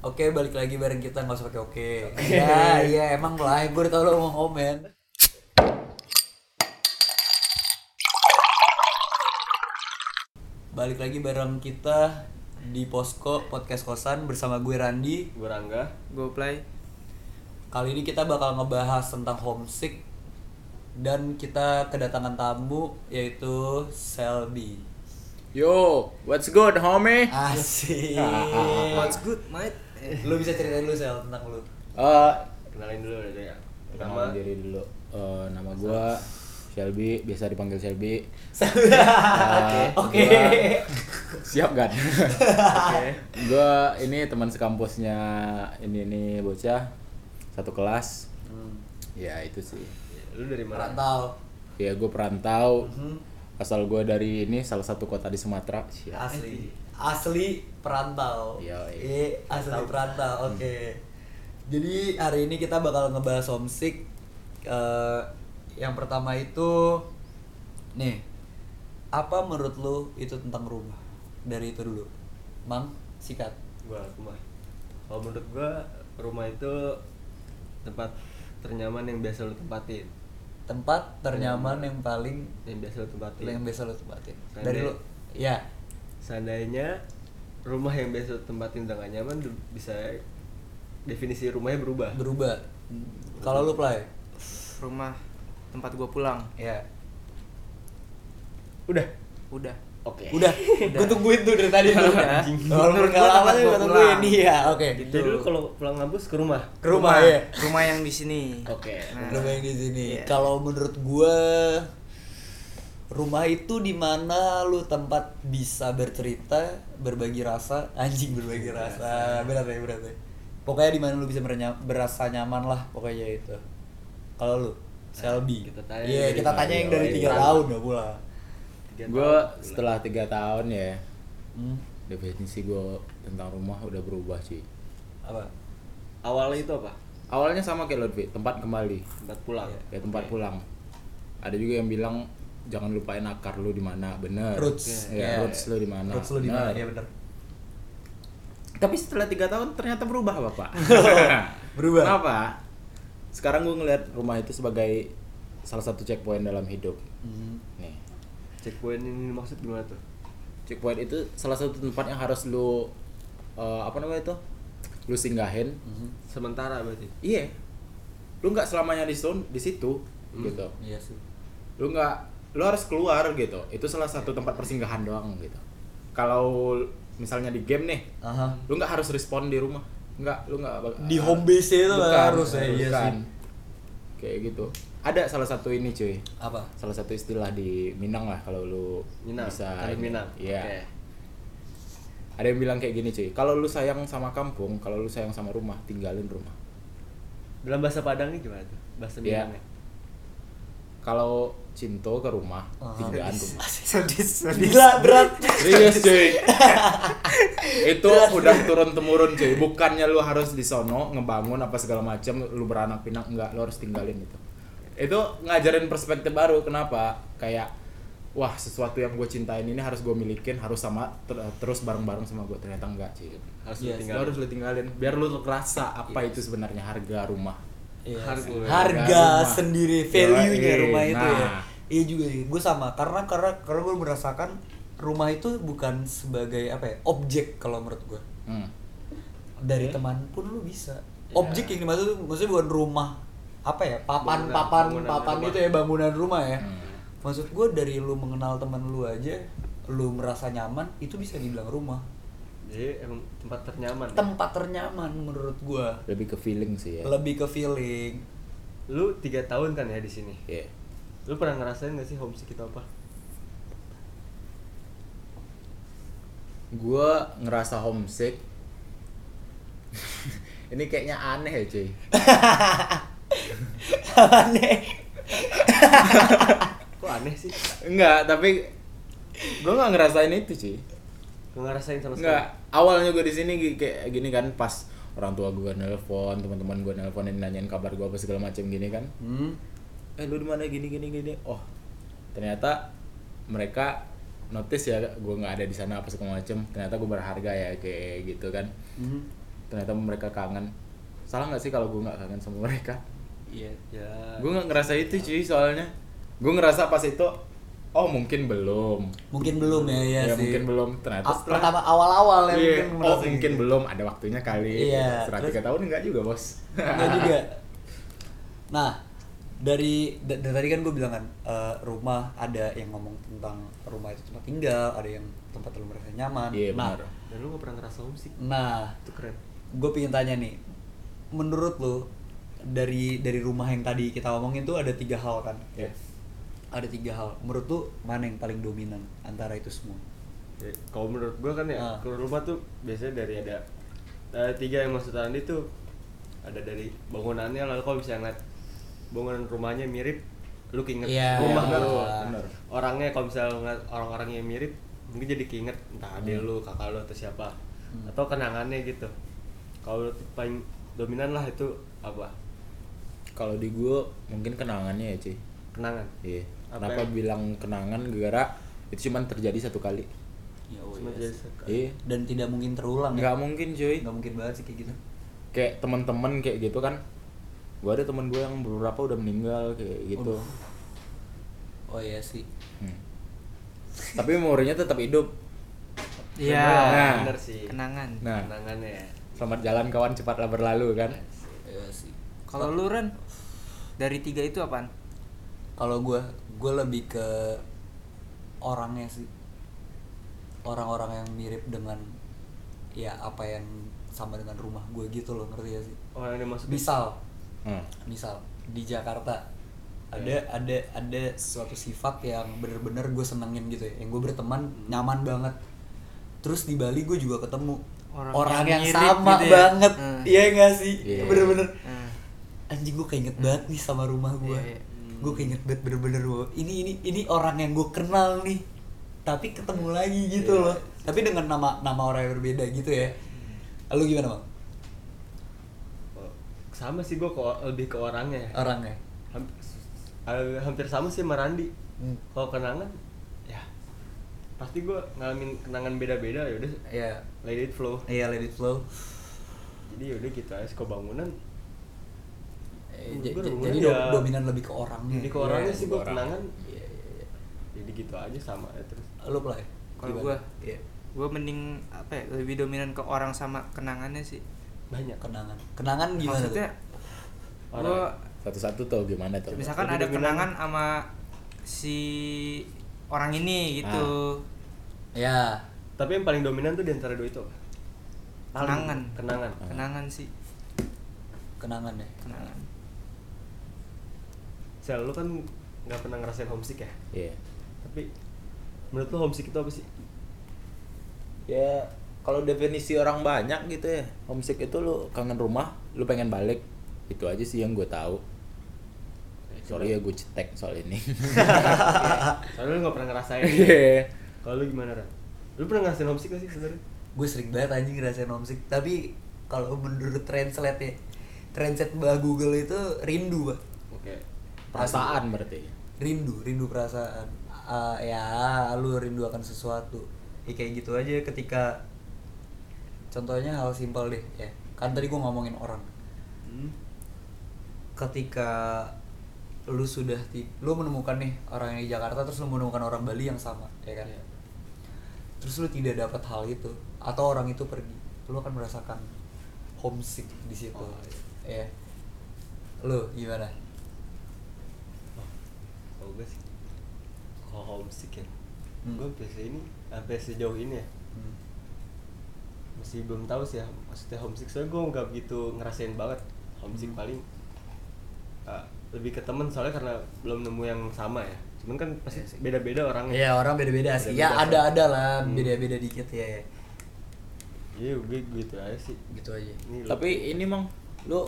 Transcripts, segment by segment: Oke, balik lagi bareng kita nggak usah pakai oke. Ya, iya emang lah. Gue udah tau lo mau komen. Balik lagi bareng kita di Posko Podcast Kosan bersama gue Randi. Gue Rangga Gue play Kali ini kita bakal ngebahas tentang homesick dan kita kedatangan tamu yaitu Selby. Yo, what's good homie? Asik. What's good mate? Lu bisa ceritain dulu Sel tentang lu. Eh, Kenalin dulu dari ya nama diri dulu. Eh, nama gua Shelby, biasa dipanggil Shelby. Eh, Oke. Oke. Siap kan? gua ini teman sekampusnya ini ini bocah satu kelas. Ya itu sih. Lu dari mana? Merantau. Ya gua perantau. Asal gua dari ini salah satu kota di Sumatera. Siap. Asli. Iya, Asli perantau. Iya, iya. Eh, asli perantau. Oke. Jadi hari ini kita bakal ngebahas homesick. Eh, yang pertama itu nih. Apa menurut lu itu tentang rumah? Dari itu dulu. Mang, sikat. Gua rumah Kalau menurut gua rumah itu tempat ternyaman yang biasa lu tempatin Tempat ternyaman yang paling Yang biasa lu tempatin yang biasa lu tempatin. Saya Dari deh. lu. Ya. Seandainya rumah yang biasa lu tempatin udah gak nyaman lu Bisa definisi rumahnya berubah Berubah. Kalau lu play. Rumah tempat gue pulang. Ya. Udah Udah. Oke. Udah, gue tungguin tuh dari tadi tuh. Udah. Walaupun Menurut gak gua lama tempatnya tuh gue buat tungguin. pulang. Iya, oke. Gitu. Jadi lu kalau pulang kampus ke rumah Ke rumah ya. Rumah yang di sini. Oke. Nah, Rumah yang di sini. Iya. Kalau menurut gue rumah itu dimana lu tempat bisa bercerita, berbagi rasa, anjing berbagi rasa, berat ya berat ya. Pokoknya dimana lu bisa merenya- berasa nyaman lah pokoknya itu. Kalau lu, Selby. kita tanya Iya, dari kita tanya yang dari Selby. tiga tahun ya pula. Tiga Gua tahun. setelah tiga tahun ya Hmm, definisi gua tentang rumah udah berubah sih. apa? Awalnya itu apa? Awalnya sama kayak Lodvi, tempat kembali. Tempat pulang Iya. ya Iya. tempat pulang ada juga yang bilang jangan lupain akar lu di mana bener Roots. ya, Iya. roots lu di mana Roots lu di mana? Bener. Iya benar. tapi setelah tiga tahun ternyata berubah bapak Berubah. kenapa sekarang gue ngeliat rumah itu sebagai salah satu checkpoint dalam hidup Hmm. nih Checkpoint ini maksud gimana tuh? checkpoint itu salah satu tempat yang harus lu eh, apa namanya itu lu singgahin Mhm. Sementara berarti iya lu nggak selamanya di zone di situ Hmm. gitu Iya sih. lu nggak lu harus keluar gitu itu salah satu tempat persinggahan doang gitu kalau misalnya di game nih Aha. lu nggak harus respon di rumah nggak lu nggak bak- Di home base itu Bukan, harus ya, iya bukan. sih. kayak gitu ada salah satu ini cuy Apa? salah satu istilah di Minang lah kalau lu Minang, bisa Tarik ini. Minang. iya Oke. ada yang bilang kayak gini cuy kalau lu sayang sama kampung kalau lu sayang sama rumah tinggalin rumah Dalam bahasa Padangnya gimana tuh? Bahasa Iya. Minangnya. kalau cinto ke rumah Ah. tinggalin rumah Sedis, sedis. Gila berat. Iya. Serius cuy Itu udah turun temurun cuy Bukannya lu harus di sono Ngebangun apa segala macam Lu beranak pinak Enggak lu harus tinggalin itu Itu ngajarin perspektif baru Kenapa? Kayak Wah sesuatu yang gue cintain ini harus gue milikin Harus sama ter- terus bareng-bareng sama gue Ternyata enggak cuy Harus Iya, Lu ditinggal. harus lu tinggalin Biar lu ngerasa apa itu sebenarnya harga rumah Iya Harga. sih. Harga harga rumah. sendiri value-nya Yoi, rumah itu ya. nah. Iya juga ya. Gue sama karena karena karena gue merasakan rumah itu bukan sebagai apa ya objek kalau menurut gue. hmm. Dari Iya. teman pun lu bisa. Objek yang dimaksud tuh maksudnya bukan rumah apa ya papan Bangunan- papan bangunan papan rumah. gitu ya bangunan rumah ya. Maksud gue dari lu mengenal teman lu aja, lu merasa nyaman itu bisa dibilang rumah. Jadi emang tempat ternyaman. ya? Tempat ternyaman menurut gue. Lebih ke feeling sih ya Lebih ke feeling. Lu tiga tahun kan ya di sini. Iya. Lu pernah ngerasain gak sih homesick itu apa? gue ngerasa homesick ini kayaknya aneh ya cuy Aneh. Kok aneh sih? enggak tapi gue nggak ngerasain itu cuy Gak ngerasain sama sekali. enggak awalnya gue di sini gi- kayak gini kan pas orang tua gue nelpon teman-teman gue nelponin nanyain kabar gue apa segala macam gini kan Hmm. eh lu di mana gini gini gini oh ternyata mereka notice ya gue nggak ada di sana apa segala macam ternyata gue berharga ya kayak gitu kan Mhm. ternyata mereka kangen salah nggak sih kalau gue nggak kangen sama mereka Iya. Ya. gue nggak ngerasa itu cuy soalnya gue ngerasa pas itu oh mungkin belum Mungkin belum ya, ya, ya sih. mungkin belum ternyata A- setelah pertama awal-awal ya Iya, mungkin oh merasa mungkin gitu. belum ada waktunya kali Iya, setelah terus- tiga tahun enggak juga bos Enggak juga. Nah, dari da- dari tadi kan gue bilang kan eh, rumah ada yang ngomong tentang rumah itu tempat tinggal, ada yang tempat lu merasa nyaman. Iya, nah, benar. Dan lu gak pernah ngerasa homesick. nah, Itu keren. gue pengen tanya nih, menurut lu dari dari rumah yang tadi kita omongin tuh ada tiga hal kan? Yes. Ada tiga hal. Menurut lu mana yang paling dominan antara itu semua? Ya, kalau menurut gua kan ya, Ah. keluar rumah tuh biasanya dari ada eh, tiga yang maksud Andi tuh ada dari bangunannya lalu kalau bisa ngeliat bangunan rumahnya mirip lu keinget Iya, rumah iya, lu. bener. orangnya kalau misalnya ngeliat orang-orang yang mirip mungkin jadi keinget entah ada Hmm. lu kakak lu atau siapa Hmm. atau kenangannya gitu kalau menurut paling dominan lah itu apa kalau di gue mungkin kenangannya ya cuy kenangan iya ya? Apa kenapa yang- bilang kenangan gara itu cuma terjadi satu kali Ya, Cuma jadi suka. iya Dan tidak mungkin terulang nggak ya? mungkin cuy Nggak mungkin banget sih kayak gitu. kayak teman-teman kayak gitu kan gue ada teman gue yang beberapa udah meninggal kayak gitu Aduh. Oh iya sih. Hmm. tapi memorinya tetap hidup Iya. Nah. bener sih Kenangan. nah kenangannya ya selamat jalan kawan cepatlah berlalu kan Iya sih. Kalau lu Ren dari tiga itu apaan? Kalau gue, gue lebih ke orangnya sih. Orang-orang yang mirip dengan ya apa yang sama dengan rumah gue gitu loh, ngerti ya sih? orang yang dimaksud Misal, Hmm. misal di Jakarta ada ada ada suatu sifat yang bener-bener gue senengin gitu ya, yang gue berteman nyaman banget. Terus di Bali gue juga ketemu orang, Orang yang, yang mirip sama gitu ya. banget, Hmm. iya nggak sih? Iya. Bener-bener. Hmm. anjing gue keinget banget nih sama rumah gue Iya, iya. gue keinget banget bener-bener gue ini ini ini orang yang gue kenal nih tapi ketemu lagi gitu Iya. loh tapi dengan nama nama orang yang berbeda gitu ya lu gimana bang Oh, sama sih gue lebih ke orangnya ya. orangnya Hamp- eh, hampir sama sih sama Randi Hmm. kalau kenangan ya pasti gue ngalamin kenangan beda-beda ya udah ya let it flow iya let it flow jadi yaudah gitu aja kok bangunan Eh, j- Gua udah j- mulai jadi ya. do- dominan lebih ke orangnya jadi ke orangnya iya, sih ke gue orang. kenangan Iya, iya, iya. jadi gitu aja sama ya terus lu play Kalau Gimana? gua? Iya. Gue mending apa ya? Lebih dominan ke orang sama kenangannya sih. banyak kenangan kenangan gimana Maksudnya tuh? gue Orang. satu-satu tuh gimana tuh misalkan Lebih ada dominan. kenangan sama si orang ini gitu. ya tapi yang paling dominan tuh diantara dua itu apa? Kenangan. Ah. kenangan Kenangan sih, kenangan ya kenangan. sel lu kan nggak pernah ngerasain homesick ya Iya. tapi menurut lu homesick itu apa sih ya kalau definisi orang banyak gitu ya homesick itu lu kangen rumah lu pengen balik itu aja sih yang gue tahu sorry ya gue cetek soal ini soalnya lu nggak pernah ngerasain Iya. kalau lu gimana Ran? lu pernah ngerasain homesick gak sih sebenarnya gue sering banget anjing ngerasain homesick tapi kalau menurut translate ya translate bah Google itu rindu pak Oke. perasaan berarti rindu rindu perasaan Ah, ya lu rindu akan sesuatu ya kayak gitu aja ketika contohnya hal simpel deh ya kan tadi gue ngomongin orang Hmm. ketika lu sudah ti- lu menemukan nih orang yang di Jakarta terus lu menemukan orang Bali yang sama ya kan Iya. terus lu tidak dapat hal itu atau orang itu pergi lu akan merasakan homesick di situ Oh, ya lu gimana Oh. Kalau gue sih kalau homesick ya. Hmm. Gue biasa ini sampai sejauh ini ya Hmm. masih belum tahu sih ya maksudnya homesick soalnya gue nggak begitu ngerasain banget homesick Hmm. paling uh, lebih ke temen soalnya karena belum nemu yang sama ya cuman kan pasti Iya sih. beda-beda orangnya ya orang beda-beda sih ya Beda-beda. ada-ada lah Hmm. beda-beda dikit ya, ya. iya gue gitu aja sih gitu aja ini lu- tapi ini mang lu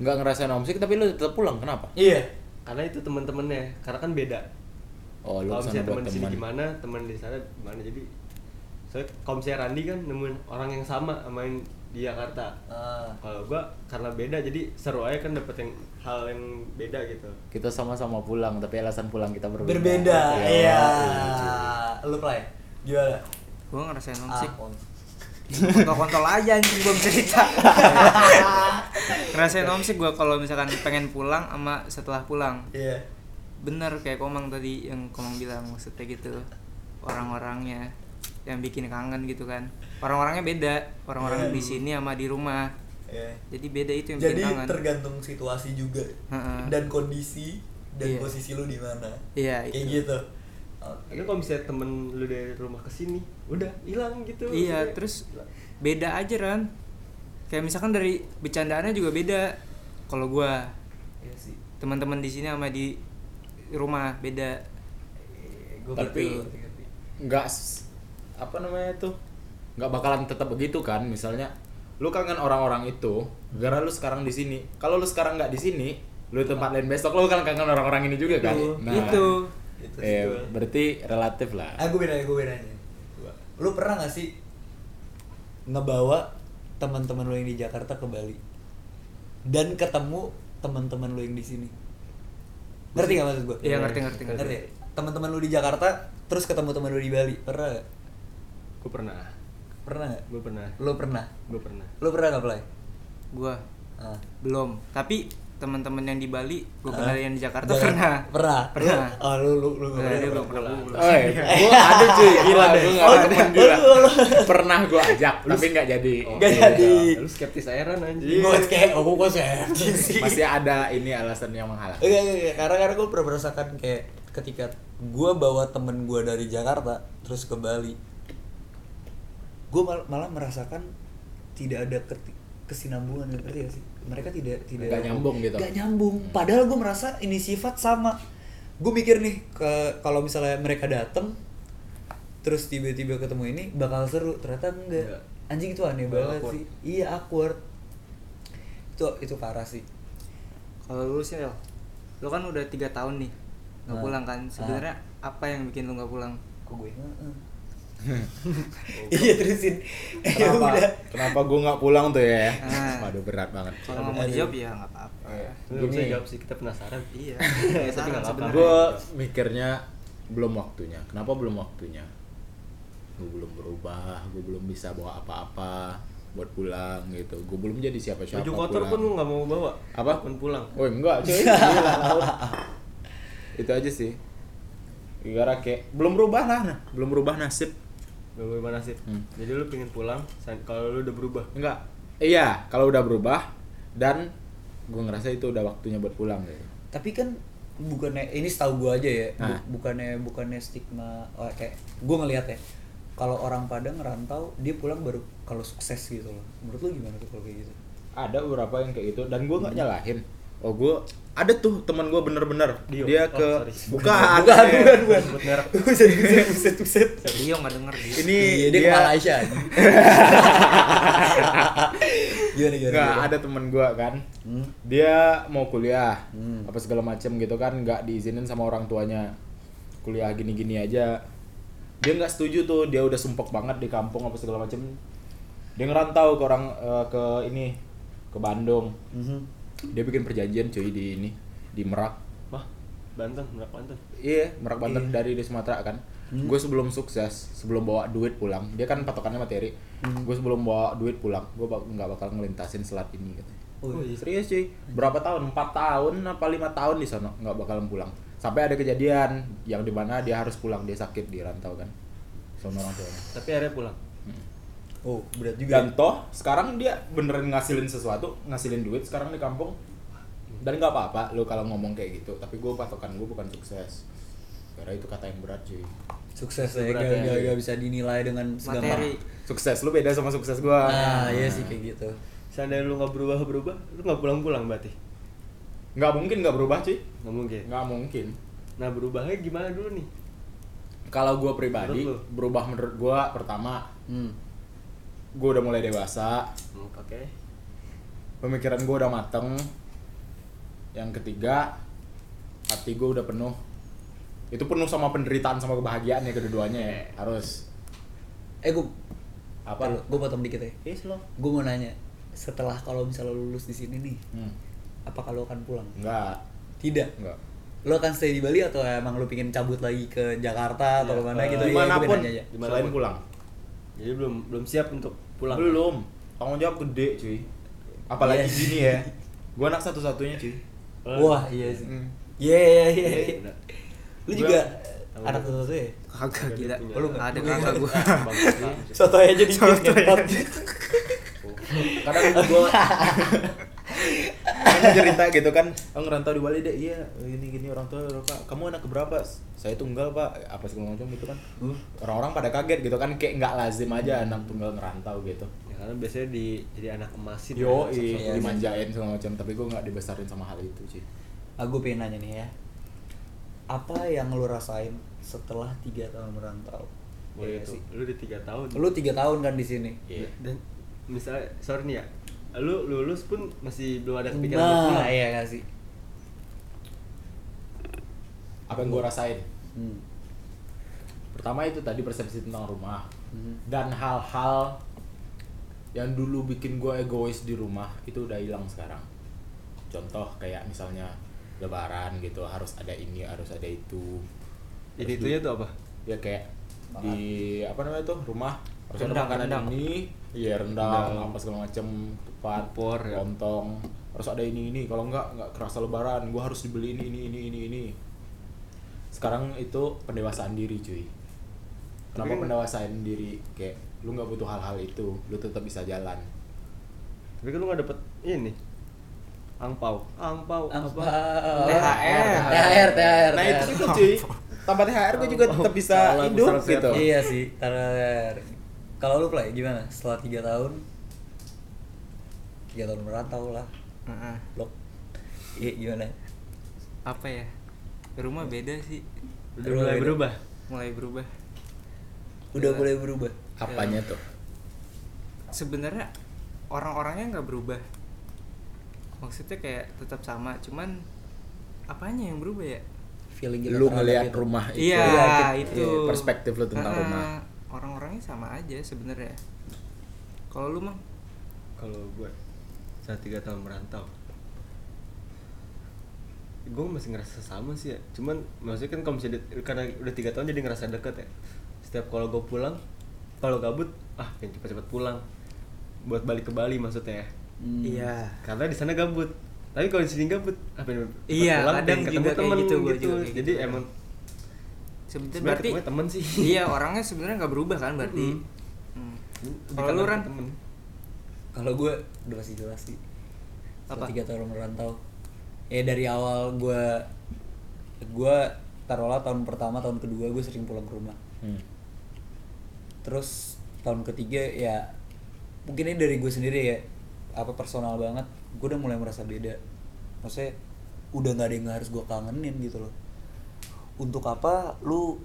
nggak ngerasain homesick tapi lu tetap pulang kenapa iya karena itu temen-temennya karena kan beda oh lu kalau kesana misalnya buat teman di sini teman gimana teman di sana gimana jadi soalnya kalau misalnya Randi kan nemuin orang yang sama sama yang di Jakarta Ah. kalau gua karena beda jadi seru aja kan dapet yang hal yang beda gitu kita sama-sama pulang tapi alasan pulang kita berbeda berbeda iya Ah, iya. lu play gimana Gue ngerasain homesick. Ah, hom- kontol-kontol aja anjing gue cerita ngerasain homesick gue kalau misalkan pengen pulang sama setelah pulang Iya. bener kayak komang tadi yang komang bilang maksudnya gitu orang-orangnya yang bikin kangen gitu kan orang-orangnya beda Iya. orang-orang di sini sama di rumah Iya. jadi beda itu yang Jadi bikin kangen tergantung situasi juga Heeh. dan kondisi dan Iya. posisi lu di mana. Iya, Kayak itu. gitu. Oh, Akhirnya kalau misalnya temen lu dari rumah ke sini, udah hilang gitu. iya maksudnya. terus beda aja kan kayak misalkan dari bercandaannya juga beda kalau gua Iya sih. teman-teman di sini sama di rumah beda eh, Gua Tapi- ngerti, ngerti. nggak s- apa namanya tuh nggak bakalan tetap begitu kan misalnya lu kangen orang-orang itu gara lu sekarang di sini kalau lu sekarang nggak di sini lu di tempat lain besok lu kan kangen orang-orang ini juga kan Betul. Itu. Itu sih eh, gua. berarti relatif lah Ah, gue beda, gue beda nih. Lu pernah gak sih ngebawa teman-teman lu yang di Jakarta ke Bali dan ketemu teman-teman lu yang di sini? Ngerti gak maksud gue? Iya, ngerti, ngerti, ngerti. ya? Teman-teman lu di Jakarta terus ketemu teman lu di Bali, pernah gak? Gue pernah. Pernah gak? Gue pernah. Lu pernah? Gue pernah. Lu pernah gak, Play? gua Ah. belum tapi teman-teman yang di Bali gua kenal Ah. yang di Jakarta Jangan- pernah Pernah? pernah Lu- Oh, lu, lu, lu, Nah, dia belum pernah Oh, iya. gua belum. Oi, gua ada cuy, gila gua nggak ada temen gila. Oh, lu- Pernah gua ajak, tapi nggak jadi. Iya. Nggak jadi. Lu skeptis airan anjing. Gue kayak, oh gue safety sih Masih ada ini alasan yang menghalang. Enggak, enggak, enggak. Iya, Karena, karena gue pernah merasakan kayak ketika gue bawa temen gue dari Jakarta terus ke Bali gue mal- malah merasakan tidak ada keti- kesinambungan ngerti gak sih mereka tidak tidak Nggak nyambung gitu. Nggak nyambung padahal gue merasa ini sifat sama gue mikir nih ke kalau misalnya mereka dateng terus tiba-tiba ketemu ini bakal seru ternyata enggak Iya. Enggak. anjing itu aneh banget Awkward. sih iya awkward itu itu parah sih kalau lu sih El lu kan udah tiga tahun nih nggak Ah. pulang kan sebenarnya apa yang bikin lu nggak pulang kok gue Heeh. iya terusin ya Kenapa? udah Kenapa gua nggak pulang tuh ya? Ah. Waduh berat banget. kalau nggak mau Aduh. Oh, iya. dijawab ya nggak apa-apa Lu nggak bisa Gini. jawab sih, kita penasaran. iya Tapi nggak saran apa-apa. sebenarnya. Gue mikirnya belum waktunya. Kenapa belum waktunya? Gue belum berubah, gue belum bisa bawa apa-apa buat pulang gitu. Gue belum jadi siapa-siapa. Baju kotor pulang. pun lu nggak mau bawa. Apa? Pun pulang. Woi enggak cuy. Gila, tahu. Itu aja sih. Gara kayak belum berubah lah, nah. belum berubah nasib. Gak gimana sih? Hmm. Jadi lu pengen pulang san- kalau lu udah berubah. Enggak. Iya, kalau udah berubah dan gue ngerasa itu udah waktunya buat pulang gitu. tapi kan bukannya ini setahu gue aja ya bu- Nah. bukannya bukannya stigma oh, kayak gue ngeliat ya kalau orang Padang ngerantau dia pulang baru kalau sukses gitu loh menurut lu gimana tuh kalau kayak gitu Ada beberapa yang kayak gitu dan gue nggak nyalahin. Oh gue ada tuh teman gue bener-bener Dio. dia Oh, sorry. ke bukan bukan eh. bukan bukan Sebut merek. buset buset buset buset Dio nggak denger dia ini Iya, dia, ke Malaysia gimana gimana, Nggak, gimana? ada temen gue kan Hmm. dia mau kuliah Hmm. apa segala macem gitu kan nggak diizinin sama orang tuanya kuliah gini-gini aja dia nggak setuju tuh dia udah sumpek banget di kampung apa segala macem dia ngerantau ke orang eh, ke ini ke Bandung Mhm. dia bikin perjanjian cuy di ini di Merak Mah, Banten, Merak Banten. Iya, Merak Banten dari di Sumatera kan. Hmm. Gue sebelum sukses, sebelum bawa duit pulang, dia kan patokannya materi. Hmm. Gue sebelum bawa duit pulang, gue bak nggak bakal ngelintasin selat ini katanya. Oh, iya. Serius cuy, berapa tahun? 4 tahun apa 5 tahun di sana nggak bakalan pulang. Sampai ada kejadian yang dimana dia harus pulang, dia sakit di rantau kan. Sama orang tuanya. Tapi akhirnya pulang. oh berat juga Dan toh sekarang dia beneran ngasilin sesuatu, ngasilin duit sekarang di kampung. Dan nggak apa-apa lo kalau ngomong kayak gitu, tapi gue patokan gue bukan sukses. Karena itu kata yang berat cuy. sukses ya Berat gak, ya. gak, gak bisa dinilai dengan segampang materi Sukses lu beda sama sukses gua. ah iya sih kayak gitu Seandainya lu nggak berubah-berubah, lu nggak pulang-pulang berarti. Nggak mungkin nggak berubah cuy. Nggak mungkin. Nggak mungkin. Nah, berubahnya gimana dulu nih? Kalau gua pribadi Menurut lu? berubah menurut gua pertama hmm. gua udah mulai dewasa, Hmm, Oke. pemikiran gua udah mateng. Yang ketiga hati gua udah penuh. Itu penuh sama penderitaan sama kebahagiaan ya kedua-duanya ya. Harus eh gue Apa? gue potong dikit ya Yes lo. gue mau nanya setelah kalau misalnya lo lulus di sini nih Hmm. apakah lo akan pulang Enggak, tidak enggak. lo akan stay di Bali atau emang lo pingin cabut lagi ke Jakarta atau Ya, kemana eh, gitu Dimanapun, ya, selain pulang. Jadi belum belum siap untuk Pulang. Belum. Tanggung jawab gede, cuy. Apalagi Yes. gini ya. Gua anak satu-satunya, cuy. Wah, iya sih. Mm. Iya, iya, iya. Iya, iya. benar. Lu Gua- juga Tahu. anak satu ya? Kagak gila. punya. Lu nggak ada kakak gua. Bangsa. Soto aja di Sotoy. Oh. Kadang gua kan cerita gitu kan, oh ngerantau di Bali deh, iya gini gini orang tua pak, kamu anak keberapa? Saya tunggal pak, apa segala macam gitu kan. Orang-orang pada kaget gitu kan, kayak nggak lazim aja anak tunggal ngerantau gitu. Ya, karena biasanya di jadi anak emasin. Yo, ya, sosok- iya. dimanjain segala macam, tapi gua nggak dibesarin sama hal itu sih. Aku pengen nanya nih ya. Apa yang lu rasain setelah tiga tahun merantau? Boleh Iya tuh. sih. Lu di 3 tahun. Lu tiga tahun kan di sini. Iya. dan misalnya sorry nih ya. Lu lulus pun masih belum ada kepikiran buat Nah, pulang. iya gak sih? Apa yang gua rasain? Hmm. Pertama itu tadi persepsi tentang rumah Mhm. dan hal-hal yang dulu bikin gue egois di rumah itu udah hilang sekarang. Contoh kayak misalnya Lebaran gitu harus ada ini harus ada itu. Jadi Terus itunya du- tuh apa? ya kayak di apa namanya tuh rumah harus Rendang, ada makanan rendang. ini, iya rendang, Rendang. apa segala macem, ketupat, Opor, ya. lontong, harus ada ini ini. Kalau nggak nggak kerasa Lebaran, gue harus dibeli ini ini ini ini ini. Sekarang itu pendewasaan diri cuy kenapa Tapi- mendewasain diri kayak lu nggak butuh hal-hal itu lu tetap bisa jalan Tapi kan lu gak dapet ini. Angpau. Angpau. Apa? Apa? THR. Eh, THR, THR. nah itu juga cuy tanpa thr gue juga tetap bisa Salah, gua hidup salah siap. gitu Iya sih, THR. Kalau lu play gimana? Setelah tiga tahun, tiga tahun merantau lah, Heeh. blok. Iya gimana? Apa ya? Rumah beda sih. Udah mulai Udah. berubah. Mulai berubah. Udah mulai berubah. apanya tuh Sebenarnya orang-orangnya nggak berubah. Maksudnya kayak tetap sama, cuman apanya yang berubah ya? Feeling kita lu terhadap ngelihat itu. rumah Ah, itu Iya, Iya, itu. iya, perspektif lu tentang Heeh, rumah. Orang-orangnya sama aja sebenarnya. Kalau lu mah Kalau gue saat 3 tahun merantau. Gue masih ngerasa sama sih ya. Cuman maksudnya kan kalau misalnya di- karena udah 3 tahun jadi ngerasa deket ya. Setiap kalau gue pulang, kalau gabut, ah pengen cepet-cepet pulang. Buat balik ke Bali maksudnya ya. Hmm. Iya. karena di sana gabut tapi kalau di sini gabut apa yang Iya, pulang, kadang pengen juga kayak temen gitu, gua juga kayak jadi gitu. emang Sebenarnya sebenarnya berarti ketemunya temen sih iya orangnya sebenarnya nggak berubah kan berarti. Hmm. Di Kalau kantor lu Ran? temen. Kalau gue udah pasti jelas sih. Setelah Apa? tiga tahun merantau. Ya dari awal gue, gue taruhlah tahun pertama, tahun kedua gue sering pulang ke rumah. Hmm. terus tahun ketiga ya mungkin ini dari gue sendiri ya apa personal banget gue udah mulai merasa beda maksudnya udah nggak ada yang harus gue kangenin gitu loh untuk apa lu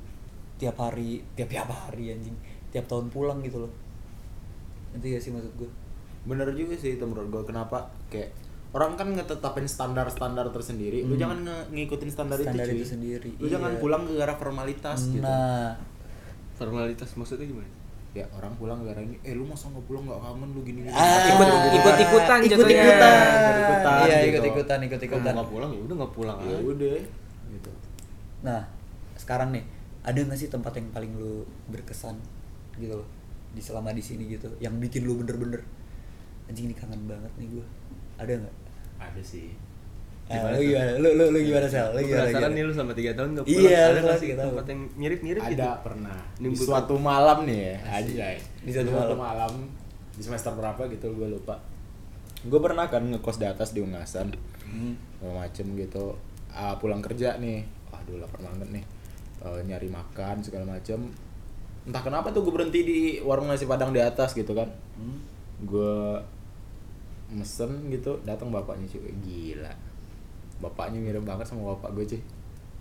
tiap hari tiap tiap hari anjing tiap tahun pulang gitu loh nanti gak sih maksud gue bener juga sih itu menurut gue kenapa kayak orang kan ngetetapin standar-standar tersendiri lu jangan nge- ngikutin Hmm. standar, Standar itu, cuy. itu sendiri, lu jangan iya. pulang gara-gara formalitas gitu nah formalitas maksudnya gimana ya orang pulang gara ini eh lu masa nggak pulang nggak kangen lu gini, -gini. Ah, Ikut- ikut-ikutan ikut jatuhnya. ikutan Ikut-ikutan iya gitu. ikut ikutan ikut kalau ikutan nggak pulang ya udah nggak pulang ya aja. udah gitu Nah, sekarang nih, ada nggak sih tempat yang paling lu berkesan gitu loh di selama di sini gitu, yang bikin lu bener-bener anjing ini kangen banget nih gue. Ada nggak? ada sih Ah, lu gimana? Lu lu lu gimana sel? Lu Lu gimana? penasaran gimana? nih lu sama 3 tahun nggak pulang Iya, ada lu nggak sama sih tiga tahun. tempat yang mirip-mirip ada gitu pernah di Nimbul- suatu malam nih ya aja Di suatu malam. di semester berapa gitu gue lupa gue pernah kan ngekos di atas di Ungasan Hmm. segala macem gitu Ah, pulang kerja nih aduh lapar banget nih Eh, nyari makan segala macem entah kenapa tuh gue berhenti di warung nasi padang di atas gitu kan Hmm. gue mesen gitu datang bapaknya cuy gila bapaknya mirip banget sama bapak gue cuy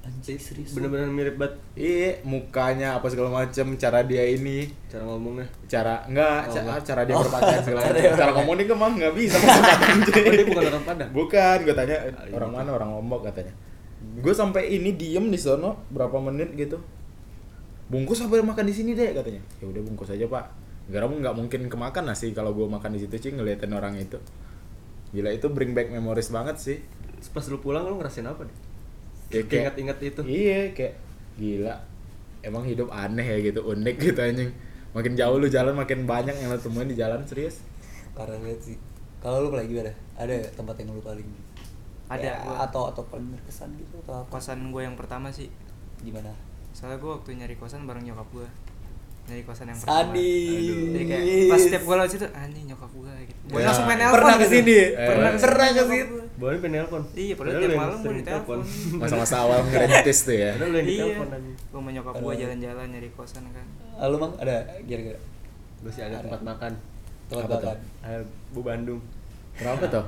Anjing serius. bener-bener mirip banget Iya, mukanya apa segala macem, cara dia ini, cara ngomongnya cara enggak, Oh, ca- enggak. cara dia berpakaian segala cara macem. dia Cara ngomong dia emang nggak bisa pakai pakaian, cuy. Oh, dia bukan orang Padang? Ah, iya, Bukan, gue tanya "Eh, orang mana, orang Lombok katanya. Gue sampai ini diem di sono berapa menit gitu. Bungkus apa makan di sini deh katanya. Ya udah bungkus aja pak. Gara nggak mungkin kemakan lah sih kalau gue makan di situ cuy ngeliatin orang itu. Gila itu bring back memories banget sih. Terus pas lu pulang lu ngerasain apa deh Ya, kayak- ingat-ingat itu Iya, kayak gila. Emang hidup aneh ya gitu, unik gitu anjing. makin jauh lu jalan makin banyak yang lu temuin di jalan serius Karena lihat sih. Kalau lu paling gimana? Ada nggak tempat yang lu paling Ada, Ya, gua. atau atau paling berkesan gitu atau apa? kosan gue yang pertama sih Gimana? soalnya gue waktu nyari kosan bareng nyokap gue nyari kosan yang pertama Sadis. jadi kayak pas setiap gue lewat situ anjing nyokap gue gitu gue Ya. langsung main nelpon Pernah gitu. kesini? pernah Eh. kesini Pernah nyokap kesini? gua. Boleh pengen nelpon. Iya, padahal lu tiap yang malam gua sering ditelepon. telepon. masa-masa awal ngerintis tuh ya Padahal lu yang iya ditelepon anjing. gue sama nyokap gue jalan-jalan nyari kosan kan Ah, Lu mang ada kira-kira Gue sih ada tempat makan. tempat Apa tuh? makan? Eh, Bu Bandung. kenapa tuh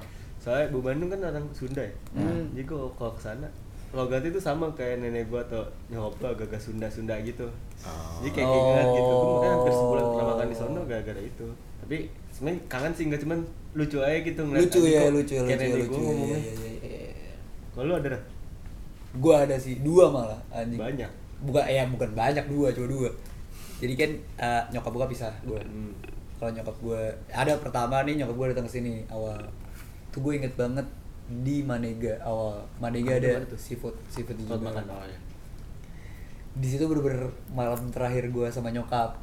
Soalnya Bu Bandung kan orang Sunda ya. Hmm. Jadi gue kalau kesana logat itu sama kayak nenek gue atau nyokap gue agak-agak Sunda-Sunda gitu. Oh. Jadi kayak keinget gitu. Gue makanya hampir sebulan pernah Oh. makan di sono gara-gara itu. Tapi sebenarnya kangen sih nggak cuman lucu aja gitu ngeliat Lucu anjing ya, kok lucu, kayak lucu, nenek lucu. gue Iya, ngomongnya. iya, iya, iya, iya. Kalau lu ada Ra? Gua ada sih, dua malah anjing. banyak. Bukan ya bukan banyak dua, cuma dua. Jadi kan eh, nyokap gua pisah gua. Hmm. Kalau nyokap gua ada pertama nih nyokap gua datang ke sini awal. Tuh gua inget banget di Manega awal. Manega ada Mana tuh? seafood, seafood di Tempat makan oh, iya. Jimbaran. awalnya. di situ bener-bener malam terakhir gua sama nyokap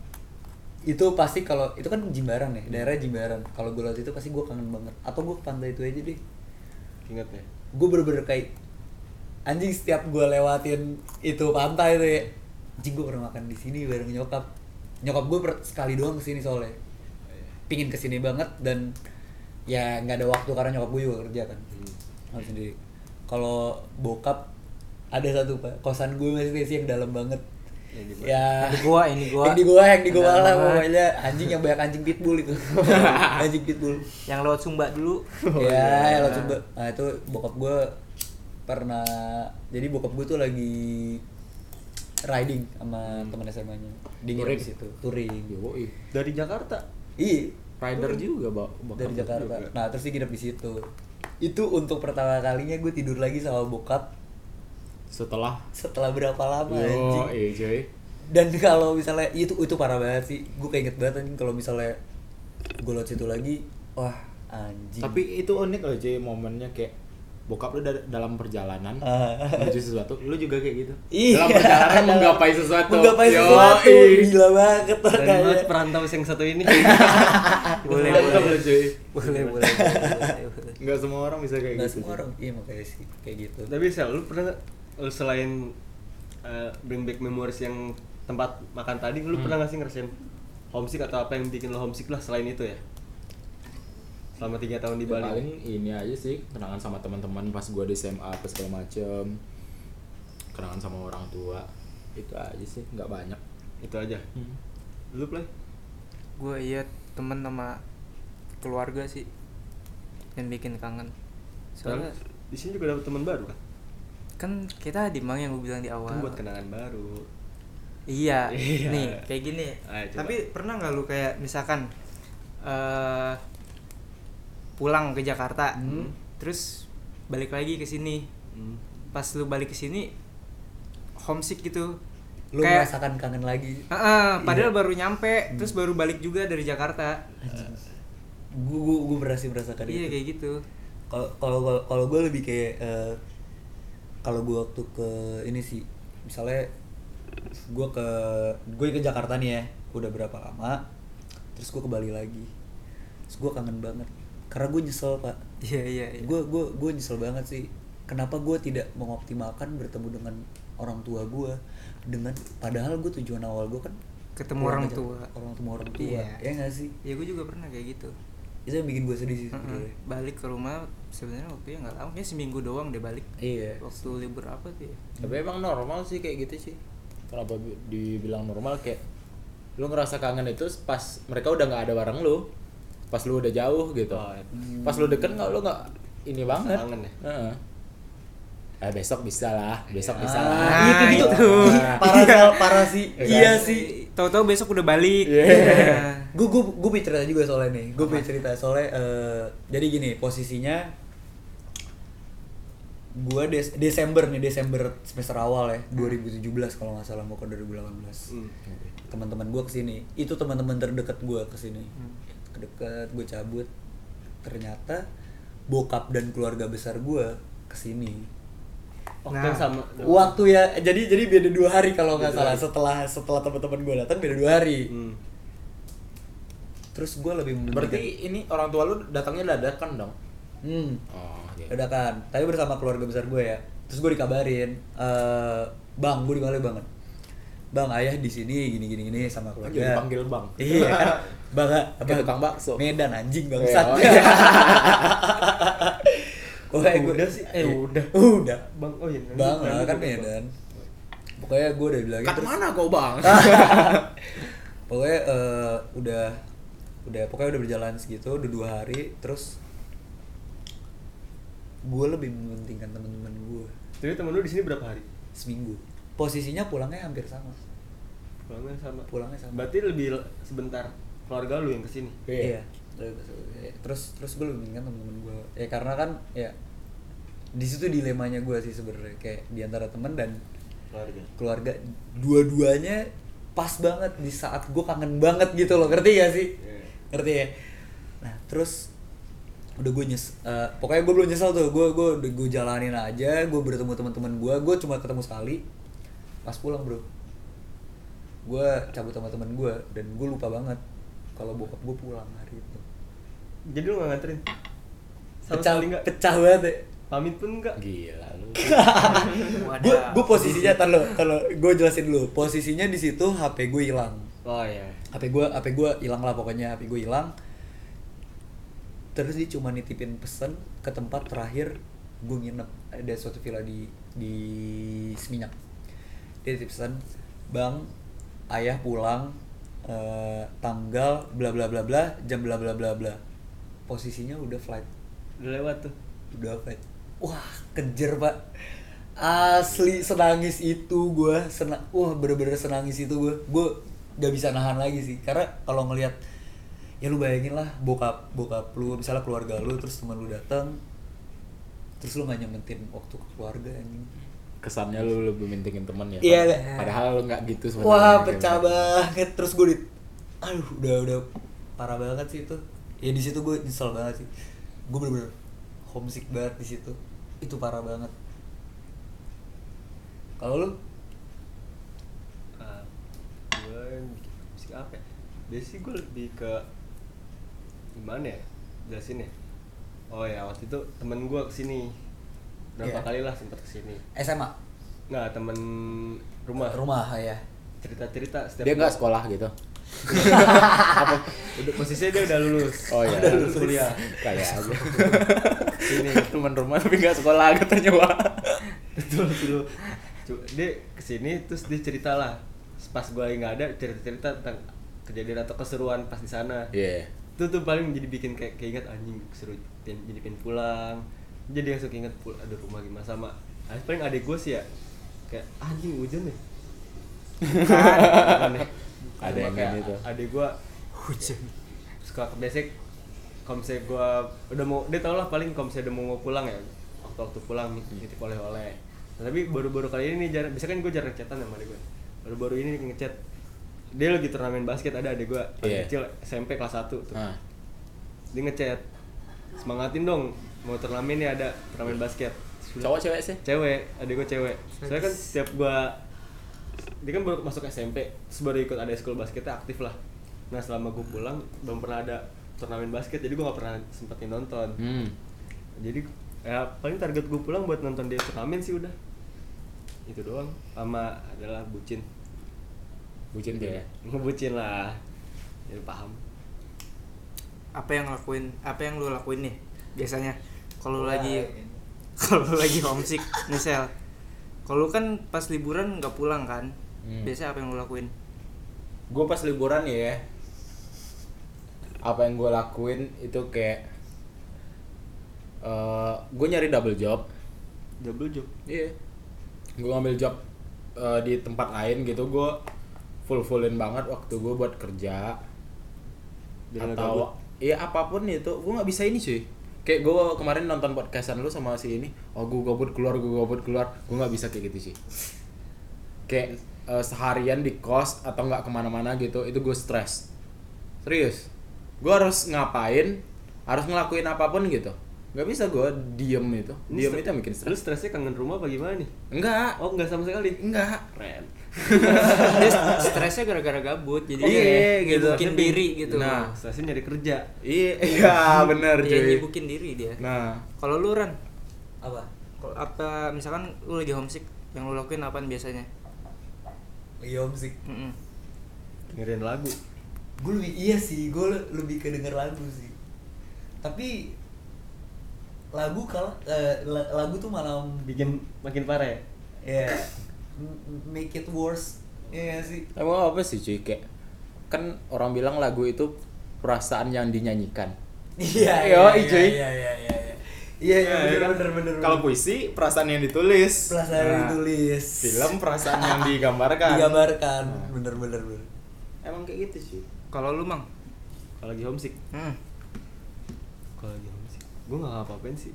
itu pasti kalau itu kan Jimbaran ya daerah Jimbaran kalau gue lewat itu pasti gua kangen banget atau gue ke pantai itu aja deh Ingat ya. gue bener-bener kayak anjing setiap gua lewatin itu pantai tuh ya anjing gue pernah makan di sini bareng nyokap nyokap gue sekali doang kesini soalnya pingin kesini banget dan ya nggak ada waktu karena nyokap gue juga kerja kan Hmm. harus sendiri kalau bokap ada satu pak kosan gue masih sih yang dalam banget Yang di mana? ya Yang di gua, yang di gua. yang di gua yang di Yang gua dalam lah banget. pokoknya anjing yang banyak anjing pitbull itu anjing pitbull yang lewat Sumba dulu Oh, ya iya. lo coba nah itu bokap gue pernah jadi bokap gue tuh lagi riding sama teman SMA nya di Hmm. Touring. Iya. Ngiris itu touring Yoi. Dari Jakarta. iya rider juga bak dari Jakarta. Nah terus dia nginep di situ. Itu untuk pertama kalinya gue tidur lagi sama bokap setelah setelah berapa lama yo anjing. eh cuy Dan kalau misalnya itu itu parah banget sih. Gue keinget banget anjing kalau misalnya gue lewat situ lagi, wah anjing. tapi itu unik loh cuy momennya kayak bokap lu da- dalam perjalanan Ah. menuju sesuatu lu juga kayak gitu Iya. dalam perjalanan menggapai sesuatu Menggapai Yoi. sesuatu. Gila banget Keren banget kayaknya. perantau yang satu ini. boleh Mantap boleh lu, cuy boleh boleh boleh, boleh. nggak semua orang bisa kayak Nggak gitu semua cuy. orang. Iya makanya sih kayak gitu. Tapi Sel, lu pernah nggak- lu selain uh, bring back memories yang tempat makan tadi, lu pernah nggak sih ngerasain homesick atau apa yang bikin lo homesick lah selain itu ya? Selama tiga tahun di Ya, Bali. paling ini aja sih kenangan sama teman-teman pas gua di SMA apa segala macem kenangan sama orang tua itu aja sih nggak banyak Itu aja. Lu play? gue iya temen sama keluarga sih yang bikin kangen soalnya Soalnya di sini juga dapet teman baru kan? kan kita di Mang yang gue bilang di awal Kan buat kenangan baru. Iya, Iya. nih kayak gini. Ayo, coba. Tapi pernah nggak lu kayak misalkan eh pulang ke Jakarta, terus balik lagi ke sini. Hmm. Pas lu balik ke sini, homesick gitu. Lu kayak, Ah. merasakan kangen lagi. Heeh, padahal baru nyampe, terus baru balik juga dari Jakarta. Gue gue gue berhasil merasakan itu. iya kayak gitu. kalau kalau kalau- kalau gue lebih kayak eh, kalau gue waktu ke ini sih misalnya gue ke gue ke Jakarta nih ya udah berapa lama terus gue ke Bali lagi terus gue kangen banget karena gue nyesel pak Iya iya. iya. gue gue gue nyesel banget sih kenapa gue tidak mengoptimalkan bertemu dengan orang tua gue dengan padahal gue tujuan awal gue kan Ketemu pulang orang ke Jak- tua. orang tua orang tua Iya. ya nggak sih Ya gue juga pernah kayak gitu. itu yang bikin gue sedih sih Heeh, sebenarnya Balik ke rumah sebenarnya waktunya nggak lama, kayak seminggu doang deh balik. iya Waktu libur apa tuh ya? tapi emang normal sih kayak gitu sih kenapa bi- dibilang normal kayak lu ngerasa kangen itu pas mereka udah nggak ada bareng lu pas lu udah jauh gitu Oh, iya. pas lu deket nggak lu nggak ini banget Kangen ya? Heeh. Eh, besok bisa lah besok bisa Ah, lah Nah. iya kayak gitu. Nah, itu. Ih, Parah Sal, parah sih. Iya Iya kan? sih. Tahu-tahu besok udah balik. Iya. Nah, Gue gue gue punya cerita juga soalnya nih. Gue punya cerita soalnya eh, jadi gini posisinya gue Des- Desember nih Desember semester awal ya 2017 kalau nggak salah mau ke 2018 Hmm. teman-teman gue kesini itu teman-teman terdekat gue kesini Hmm. terdekat gue cabut ternyata bokap dan keluarga besar gue kesini Oh, Nah. kan sama. waktu ya jadi jadi beda dua hari kalau nggak salah setelah setelah teman-teman gue datang beda dua hari Hmm. terus gue lebih mementingkan- Berarti ini orang tua lu datangnya dadakan dong. hmm Oh, iya. udah kan tapi bersama keluarga besar gue ya terus gue dikabarin eh bang gue dimarahin banget bang ayah di sini gini gini gini sama keluarga Kan Jadi panggil bang. iya kan bang Kayak tukang bakso. Medan anjing Iya, bangsat oh, iya. Wah, gue Udah sih, eh, udah. udah Bang, oh iya. bang lah kan Medan pokoknya gue udah bilangin Kat terus- mana kau bang? pokoknya eh, udah udah pokoknya udah berjalan segitu udah dua hari terus gue lebih mementingkan teman-teman gue Jadi temen lu di sini berapa hari? seminggu posisinya pulangnya hampir sama Pulangnya sama. Pulangnya sama. Berarti lebih l- sebentar keluarga lu yang kesini. Iya. terus terus gue lebih mementingkan teman-teman gue ya karena kan ya di situ dilemanya gue sih sebenarnya kayak di antara teman dan Keluarga. keluarga dua-duanya pas banget di saat gue kangen banget gitu loh ngerti gak sih Iya. ngerti ya nah terus udah gue nyes eh, pokoknya gue belum nyesel tuh gue gue udah gue jalanin aja gue bertemu teman-teman gue gue cuma ketemu sekali pas pulang bro gue cabut sama teman gue dan gue lupa banget kalau bokap gue pulang hari itu Jadi lu gak nganterin? Sama pecah sekali nggak? pecah banget ya. Pamit pun enggak? Gila lu. gue gue posisinya tar lo kalau gue jelasin dulu posisinya di situ HP gue hilang Oh iya. HP gue HP gue hilang lah pokoknya HP gue hilang terus dia cuma nitipin pesen ke tempat terakhir gue nginep ada suatu villa di di Seminyak dia nitip pesan bang ayah pulang eh, tanggal bla bla bla bla jam bla bla bla bla posisinya udah flight Udah lewat tuh. udah flight wah kejer pak asli senangis itu gue senang wah bener-bener senangis itu gue gue gak bisa nahan lagi sih karena kalau ngelihat ya lu bayangin lah bokap bokap lu misalnya keluarga lu terus teman lu datang terus lu gak nyementin waktu ke keluarga anjing Kesannya lu lebih mintingin temen ya. Iya, Pak? iya. Padahal lu nggak gitu sebenarnya. wah pecah banget terus gue di aduh udah udah parah banget sih itu ya di situ gue nyesel banget sih gue bener-bener homesick banget di situ itu parah banget kalau lu Ah, gue bikin musik apa ya? Biasanya sih gue lebih ke gimana ya? Jelasin ya. Oh ya waktu itu temen gue kesini Iya. berapa kali lah sempat kesini. SMA Nah temen rumah rumah ya cerita cerita setiap Dia nggak sekolah gitu. apa udah, posisinya dia udah lulus Oh iya. udah lulus kuliah Kayak aku. Sini. teman rumah tapi nggak sekolah katanya wah. betul dulu Cu- dia kesini terus dia cerita lah pas gue lagi nggak ada cerita cerita tentang kejadian atau keseruan pas di sana Iya. itu tuh paling jadi bikin kayak keinget anjing seru jadi jadi pengen pulang jadi langsung keinget pul ada rumah gimana sama ah, paling adek gue sih ya kayak anjing hujan nih Ada yang kayak gitu. adek gue hujan suka ke basic kalau misalnya gue udah mau dia tau lah paling kalau misalnya udah mau, mau pulang ya waktu waktu pulang Hmm. nitip oleh oleh tapi baru-baru kali ini nih jarang biasanya kan gue jarang chatan sama adek gue baru-baru ini ngechat dia lagi turnamen basket ada adek gue Iya. kecil SMP kelas 1 tuh Nah, dia ngechat semangatin dong mau turnamen nih ada turnamen basket cowok cewek sih? cewek adik gue cewek saya kan setiap gua dia kan baru masuk SMP terus baru ikut ada school basketnya aktif lah nah selama gue pulang belum pernah ada turnamen basket jadi gue nggak pernah sempetin nonton Hmm. jadi ya paling target gue pulang buat nonton dia turnamen sih udah itu doang sama adalah bucin Bucin dia. ya? ngebucin lah jadi paham apa yang lakuin apa yang lu lakuin nih biasanya kalau lu lagi kalau lu lagi homesick misal kalau lu kan pas liburan nggak pulang kan Hmm. biasanya apa yang lu lakuin gue pas liburan ya apa yang gue lakuin itu kayak eh gue nyari double job double job iya gue ngambil job eh, di tempat lain gitu gue full fullin banget waktu gue buat kerja Biar nggak gabut. atau iya apapun itu gue nggak bisa ini sih kayak gue kemarin nonton podcastan lu sama si ini oh gue gabut keluar gue gabut keluar gue nggak bisa kayak gitu sih kayak eh, seharian di kos atau nggak kemana-mana gitu itu gue stres serius gue harus ngapain harus ngelakuin apapun gitu nggak bisa gue diem itu Lu diem stre- itu yang bikin Lu stres stresnya kangen rumah apa gimana nih? enggak Oh, enggak sama sekali. enggak Keren. Dia stresnya gara-gara gabut jadi Iya, dia gitu. nyibukin diri gitu. Nah. Stresnya nyari kerja. iya iya bener dia cuy nyibukin diri dia. nah Kalau lu Ran, apa kalau apa misalkan lu lagi homesick yang lu lakuin apaan biasanya? lagi homesick Mm-mm. Dengerin lagu. gue lebih iya sih gue lebih ke denger lagu sih tapi lagu kalau eh, la- lagu tuh malah Bikin makin parah ya? ya m- m- make it worse Iya nggak sih Emang apa sih cuy kayak kan orang bilang lagu itu perasaan yang dinyanyikan. iya Yo, iya, cuy. iya iya iya iya iya Eh, bener Iya, kan? bener bener Kalau puisi perasaan yang ditulis. Nah, Perasaan Nah, yang ditulis. Film perasaan yang digambarkan. digambarkan Nah. bener bener bener Emang kayak gitu sih. Kalau lu Mang? Kalau lagi homesick. Hmm. Kalau lagi homesick. Gue nggak ngapa-ngapain sih.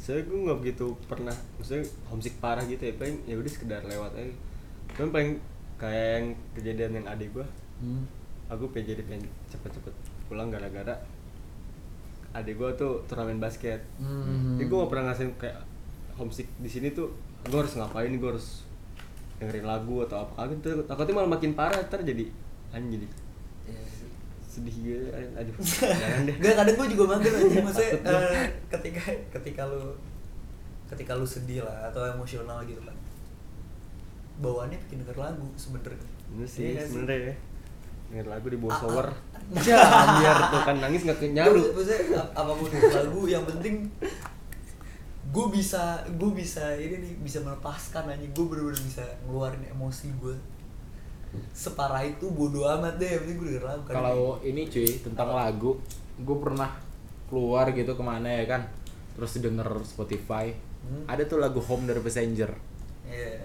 Soalnya gue nggak begitu pernah. Maksudnya homesick parah gitu ya. Paling ya udah sekedar lewat aja. Cuman paling kayak yang kejadian yang adik gue. Hmm. Aku pengen jadi pengen cepet-cepet pulang gara-gara adik gue tuh turnamen basket. Hmm. Jadi gue gak pernah ngerasain kayak homesick di sini tuh gue harus ngapain gue harus dengerin lagu atau apa kagak tuh takutnya malah makin parah ntar jadi anjing jadi Iya sih. sedih gitu aduh jangan deh Gak kadang gue juga mager aja maksudnya Takut gua. eh, ketika ketika lu ketika lu sedih lah atau emosional gitu kan bawaannya bikin denger lagu sebenernya ini sih Iya nggak sebenernya ya denger lagu di bawah Ah, ah. shower ya biar tuh kan nangis nggak ke- nyaru Gua- maksudnya ap- apapun itu lagu yang penting gue bisa gue bisa ini nih bisa melepaskan aja gue bener-bener bisa ngeluarin emosi gue separah itu bodo amat deh yang penting gue denger lagu kan Kalau ini cuy tentang lagu, gue pernah keluar gitu kemana ya kan, terus denger Spotify, Hmm. ada tuh lagu Home dari Passenger, Iya.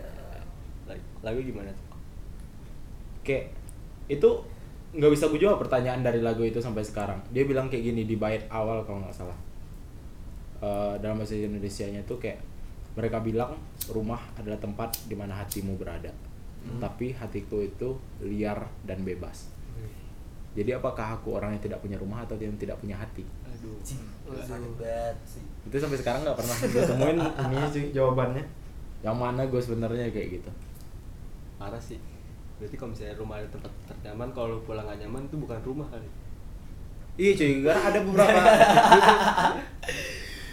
Lagu- lagu gimana tuh kayak itu nggak bisa gue jawab pertanyaan dari lagu itu sampai sekarang. Dia bilang kayak gini di bait awal kalau nggak salah. Eh, dalam bahasa Indonesia-nya tuh kayak mereka bilang rumah adalah tempat di mana hatimu berada. Tapi hatiku itu liar dan bebas. Jadi apakah aku orang yang tidak punya rumah atau yang tidak punya hati? aduh Cing, sakit banget sih Itu sampai sekarang nggak pernah gue temuin ini sih jawabannya. Yang mana gue sebenarnya kayak gitu. parah sih berarti kalau misalnya rumah ada tempat ternyaman kalau lu pulang gak nyaman tuh bukan rumah kali Iya cuy, karena ada beberapa.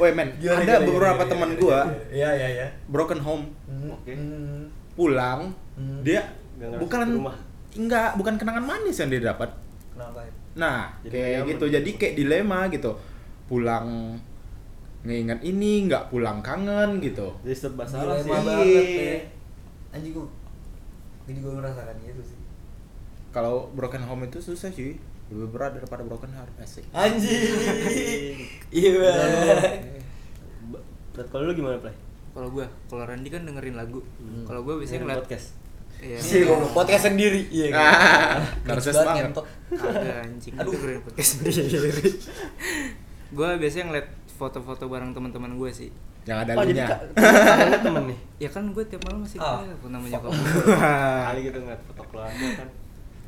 Woi men, Gimana, ada gimana, beberapa gimana, teman gimana, gue gimana? iya iya iya broken home Hmm, Oke. hmm. pulang Hmm. dia Nggak ngerasa bukan ke rumah. enggak bukan kenangan manis yang dia dapat kenapa ya? Nah, Jadi kayak nyaman. gitu. Jadi kayak dilema gitu. Pulang ngingat ini, nggak pulang kangen gitu. jadi serba Dilema salah sih banget Iya. ya anjing gue gue juga merasakan gitu sih Kalau broken home itu susah cuy. Lebih berat daripada broken heart asik. Ah. anjing iya banget. Ba- berat kalau lu gimana play Kalau gua, kalau Randi kan dengerin lagu. Kalau gua biasanya Dengerin ngeliat podcast Iya. Sih, gua podcast sendiri. Iya. Ah, kan? narsis Banget, banget. ngentot. Kagak anjing. Aduh. Aduh, dengerin podcast sendiri. gua biasanya ngeliat foto-foto bareng teman-teman gua sih. Yang ada oh jadi lagunya. kak kamu temen nih Ya kan gue tiap malam masih Ah. telepon sama nyokap gua. kali gitu ngeliat foto keluarga kan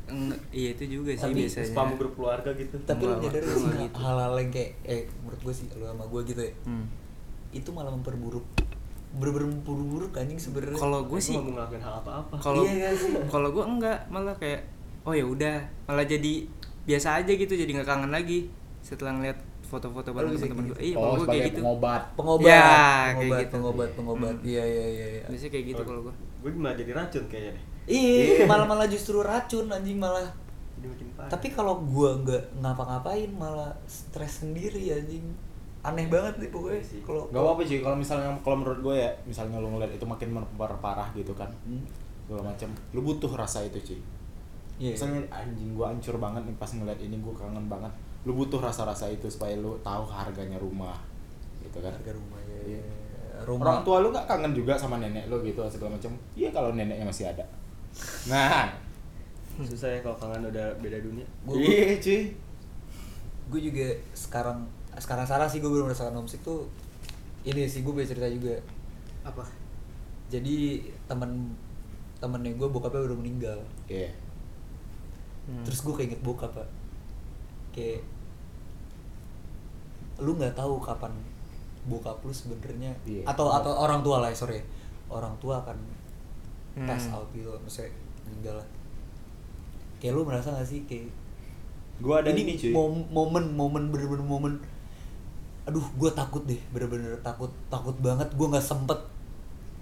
Enggak, iya itu juga sih Tapi biasanya. spam grup keluarga gitu Tapi lu Enggak, nyadar enggak gak sih gitu. hal-hal yang kayak eh menurut gue sih lu sama gue gitu ya. Hmm. Itu malah memperburuk. Bener-bener memperburuk anjing sebenarnya. Kalau gue sih mau ngelakuin hal apa-apa kalau Iya, guys. kalau gue enggak malah kayak oh ya udah malah jadi biasa aja gitu jadi nggak kangen lagi setelah ngeliat Lu foto-foto bareng bisa teman-teman gitu? gue. Iya, oh, kalau gue kayak sebagai gitu. pengobat. pengobat, Ya, kayak pengobat, gitu. pengobat, pengobat. Hmm. Iya, iya, iya, iya. Biasanya kayak gitu kalau gue. gue malah jadi racun kayaknya deh Iya, malah-malah justru racun anjing malah. jadi makin parah Tapi kalau gua nggak ngapa-ngapain malah stres sendiri anjing. Aneh banget nih pokoknya Iya sih. kalau Gak apa-apa cuy, kalau misalnya kalau menurut gue ya, misalnya lu ngeliat itu makin memperparah gitu kan. Hmm. Segala macam. Lu butuh rasa itu cuy. Iya. Misalnya anjing gua hancur banget nih pas ngeliat ini gua kangen banget. Lu butuh rasa-rasa itu supaya lu tahu harganya rumah. Gitu kan. Harga rumah ya. Iya. Rumah. Orang tua lu gak kangen juga sama nenek lu gitu segala macam. Iya kalau neneknya masih ada. Nah, susah ya kalau kangen udah beda dunia Gua- iya cuy. gue juga sekarang sekarang sekarang sih gue belum merasakan homesick tuh ini sih gue punya cerita juga Apa? jadi temen temennya gue bokapnya udah meninggal Iya. terus gue keinget bokap pak kayak lu nggak tahu kapan bokap lu sebenarnya Iya. atau atau orang tua lah sorry orang tua akan Hmm. pass out gitu maksudnya meninggal lah kayak lu merasa gak sih kayak Gua ada ini, ini, cuy. mom- momen momen bener-bener momen aduh gue takut deh bener-bener takut takut banget gue nggak sempet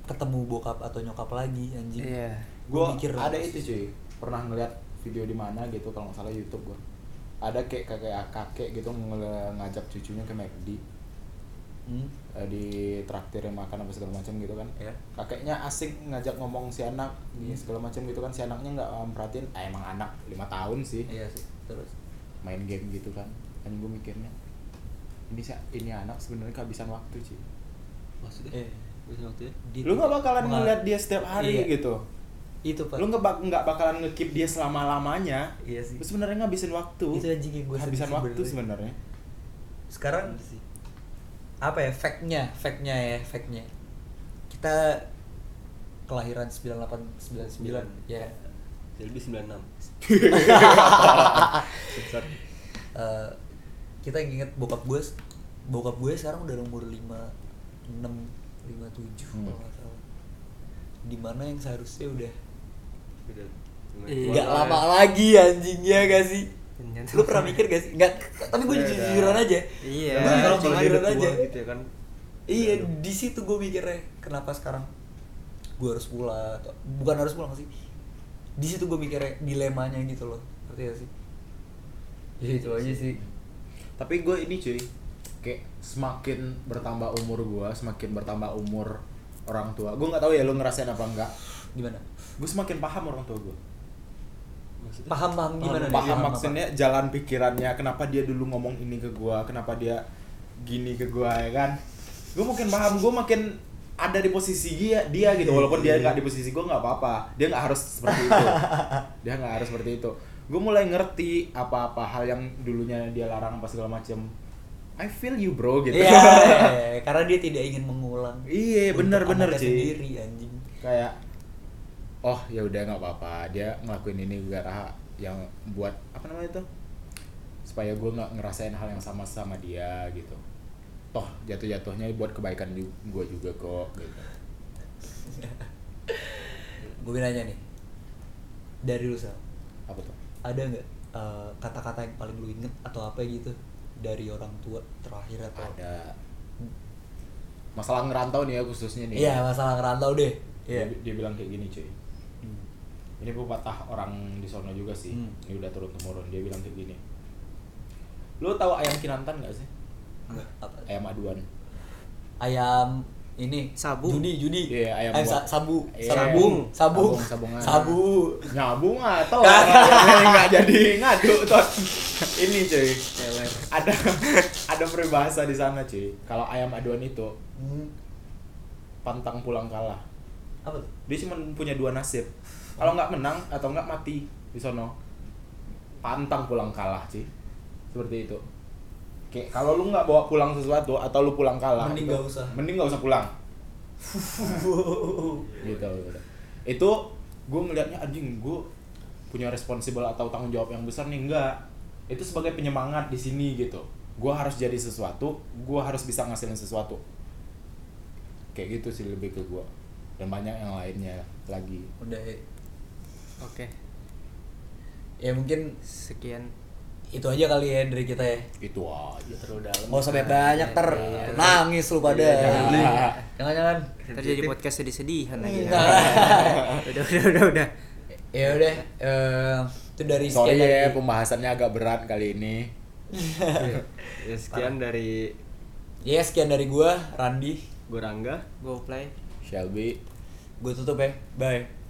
ketemu bokap atau nyokap lagi anjing Iya. gue gue mikir ada terus. itu cuy pernah ngeliat video di mana gitu kalau nggak salah YouTube gue ada kayak kakek kakek gitu ngel- ngajak cucunya ke McD Hmm? eh, di traktir makan apa segala macam gitu kan Iya. Hmm. kakeknya asik ngajak ngomong si anak gini segala macam gitu kan si anaknya nggak um, perhatiin ah, emang anak lima tahun sih iya sih terus main game gitu kan kan gue mikirnya ini sa- ini anak sebenarnya kehabisan waktu cuy Maksudnya? Eh. Bisa waktu ya? Gitu. lu nggak bakalan Mengal- ngeliat dia setiap hari Iya. gitu itu pak lu nggak bak- nggak bakalan ngekip dia selama lamanya Iya sih. lu sebenarnya ngabisin waktu Itu anjing yang gua ngabisin sedih waktu sebenarnya. sebenarnya sekarang apa ya fact-nya fact-nya ya fact-nya kita kelahiran 98 99 ya Jadi 96. Sesat. Eh, kita inget bokap gue bokap gue sekarang udah umur 5 6 57 Hmm. kalau nggak salah dimana yang seharusnya udah Udah. Iya. nggak lama lagi anjing ya gak sih Ternyata. lu pernah mikir gak sih nggak tapi gue Iya, jujuran dah. aja Iya. gue Nah, kalau kalau dia jujuran udah aja tua gitu ya kan. Iya, Aduh. di situ gue mikirnya kenapa sekarang gue harus pulang atau bukan harus pulang sih. Di situ gue mikirnya dilemanya gitu loh. Ngerti gak sih? Ya itu aja sih. tapi gue ini cuy kayak semakin bertambah umur gue semakin bertambah umur orang tua gue nggak tahu ya lu ngerasain apa enggak Gimana? gue semakin paham orang tua gue Maksudnya? Paham-paham gimana nih? paham maksudnya jalan pikirannya kenapa dia dulu ngomong ini ke gue kenapa dia gini ke gue ya kan gue makin paham gue makin ada di posisi dia dia Iya, gitu walaupun dia nggak di posisi gue nggak apa-apa dia nggak harus seperti itu dia nggak harus seperti itu gue mulai ngerti apa-apa hal yang dulunya dia larang apa segala macem I feel you bro gitu Iya, iya, iya. karena dia tidak ingin mengulang. Iya, untuk benar-benar, anaknya Ci. sendiri anjing. kayak oh ya udah nggak apa-apa dia ngelakuin ini gara yang buat apa namanya itu supaya gue nggak ngerasain hal yang sama sama dia gitu toh jatuh-jatuhnya buat kebaikan gue juga kok gitu Gue nanya nih. Dari lu Sal, apa tuh ada nggak eh, kata-kata yang paling lu inget atau apa gitu dari orang tua terakhir atau Hmm. ada masalah ngerantau nih ya khususnya nih Iya, masalah ngerantau deh. Iya. dia, dia bilang kayak gini cuy Hmm. ini pepatah orang di sono juga sih Hmm. ini udah turun temurun dia bilang kayak gini lo tahu ayam kinantan nggak sih Nggak, apa? ayam aduan ayam ini Sabu. judi judi Iya, ayam Eh, sa- buat- sabu Iya. sabung sabung Sabung, sabungan. sabu nyambung atau nggak jadi ngadu tot ini cuy ada ada peribahasa di sana cuy kalau ayam aduan itu Hmm, pantang pulang kalah apa tuh dia cuma punya dua nasib kalau nggak menang atau nggak mati di sono pantang pulang kalah cuy seperti itu kayak kalau lu nggak bawa pulang sesuatu atau lu pulang kalah Mending itu- nggak usah. mending nggak usah pulang gitu gitu. itu gue ngelihatnya anjing gue punya responsibel atau tanggung jawab yang besar nih enggak itu sebagai penyemangat di sini gitu gue harus jadi sesuatu gue harus bisa ngasilin sesuatu kayak gitu sih lebih ke gue dan banyak yang lainnya lagi udah ya. Oke. ya mungkin Sekian. itu aja kali ya dari kita ya itu aja Terlalu dalam. nggak usah banyak banyak ter Iya. nangis lu pada Iya, jangan. jangan jangan Terjadi podcast sedih-sedihan lagi. Nah. udah, udah, udah, udah. ya udah eh, itu dari sorry sekian ya dari- pembahasannya agak berat kali ini Iya. Ya sekian dari ya sekian dari gua Randi Gorangga. Go play. Shelby gue tutup ya bye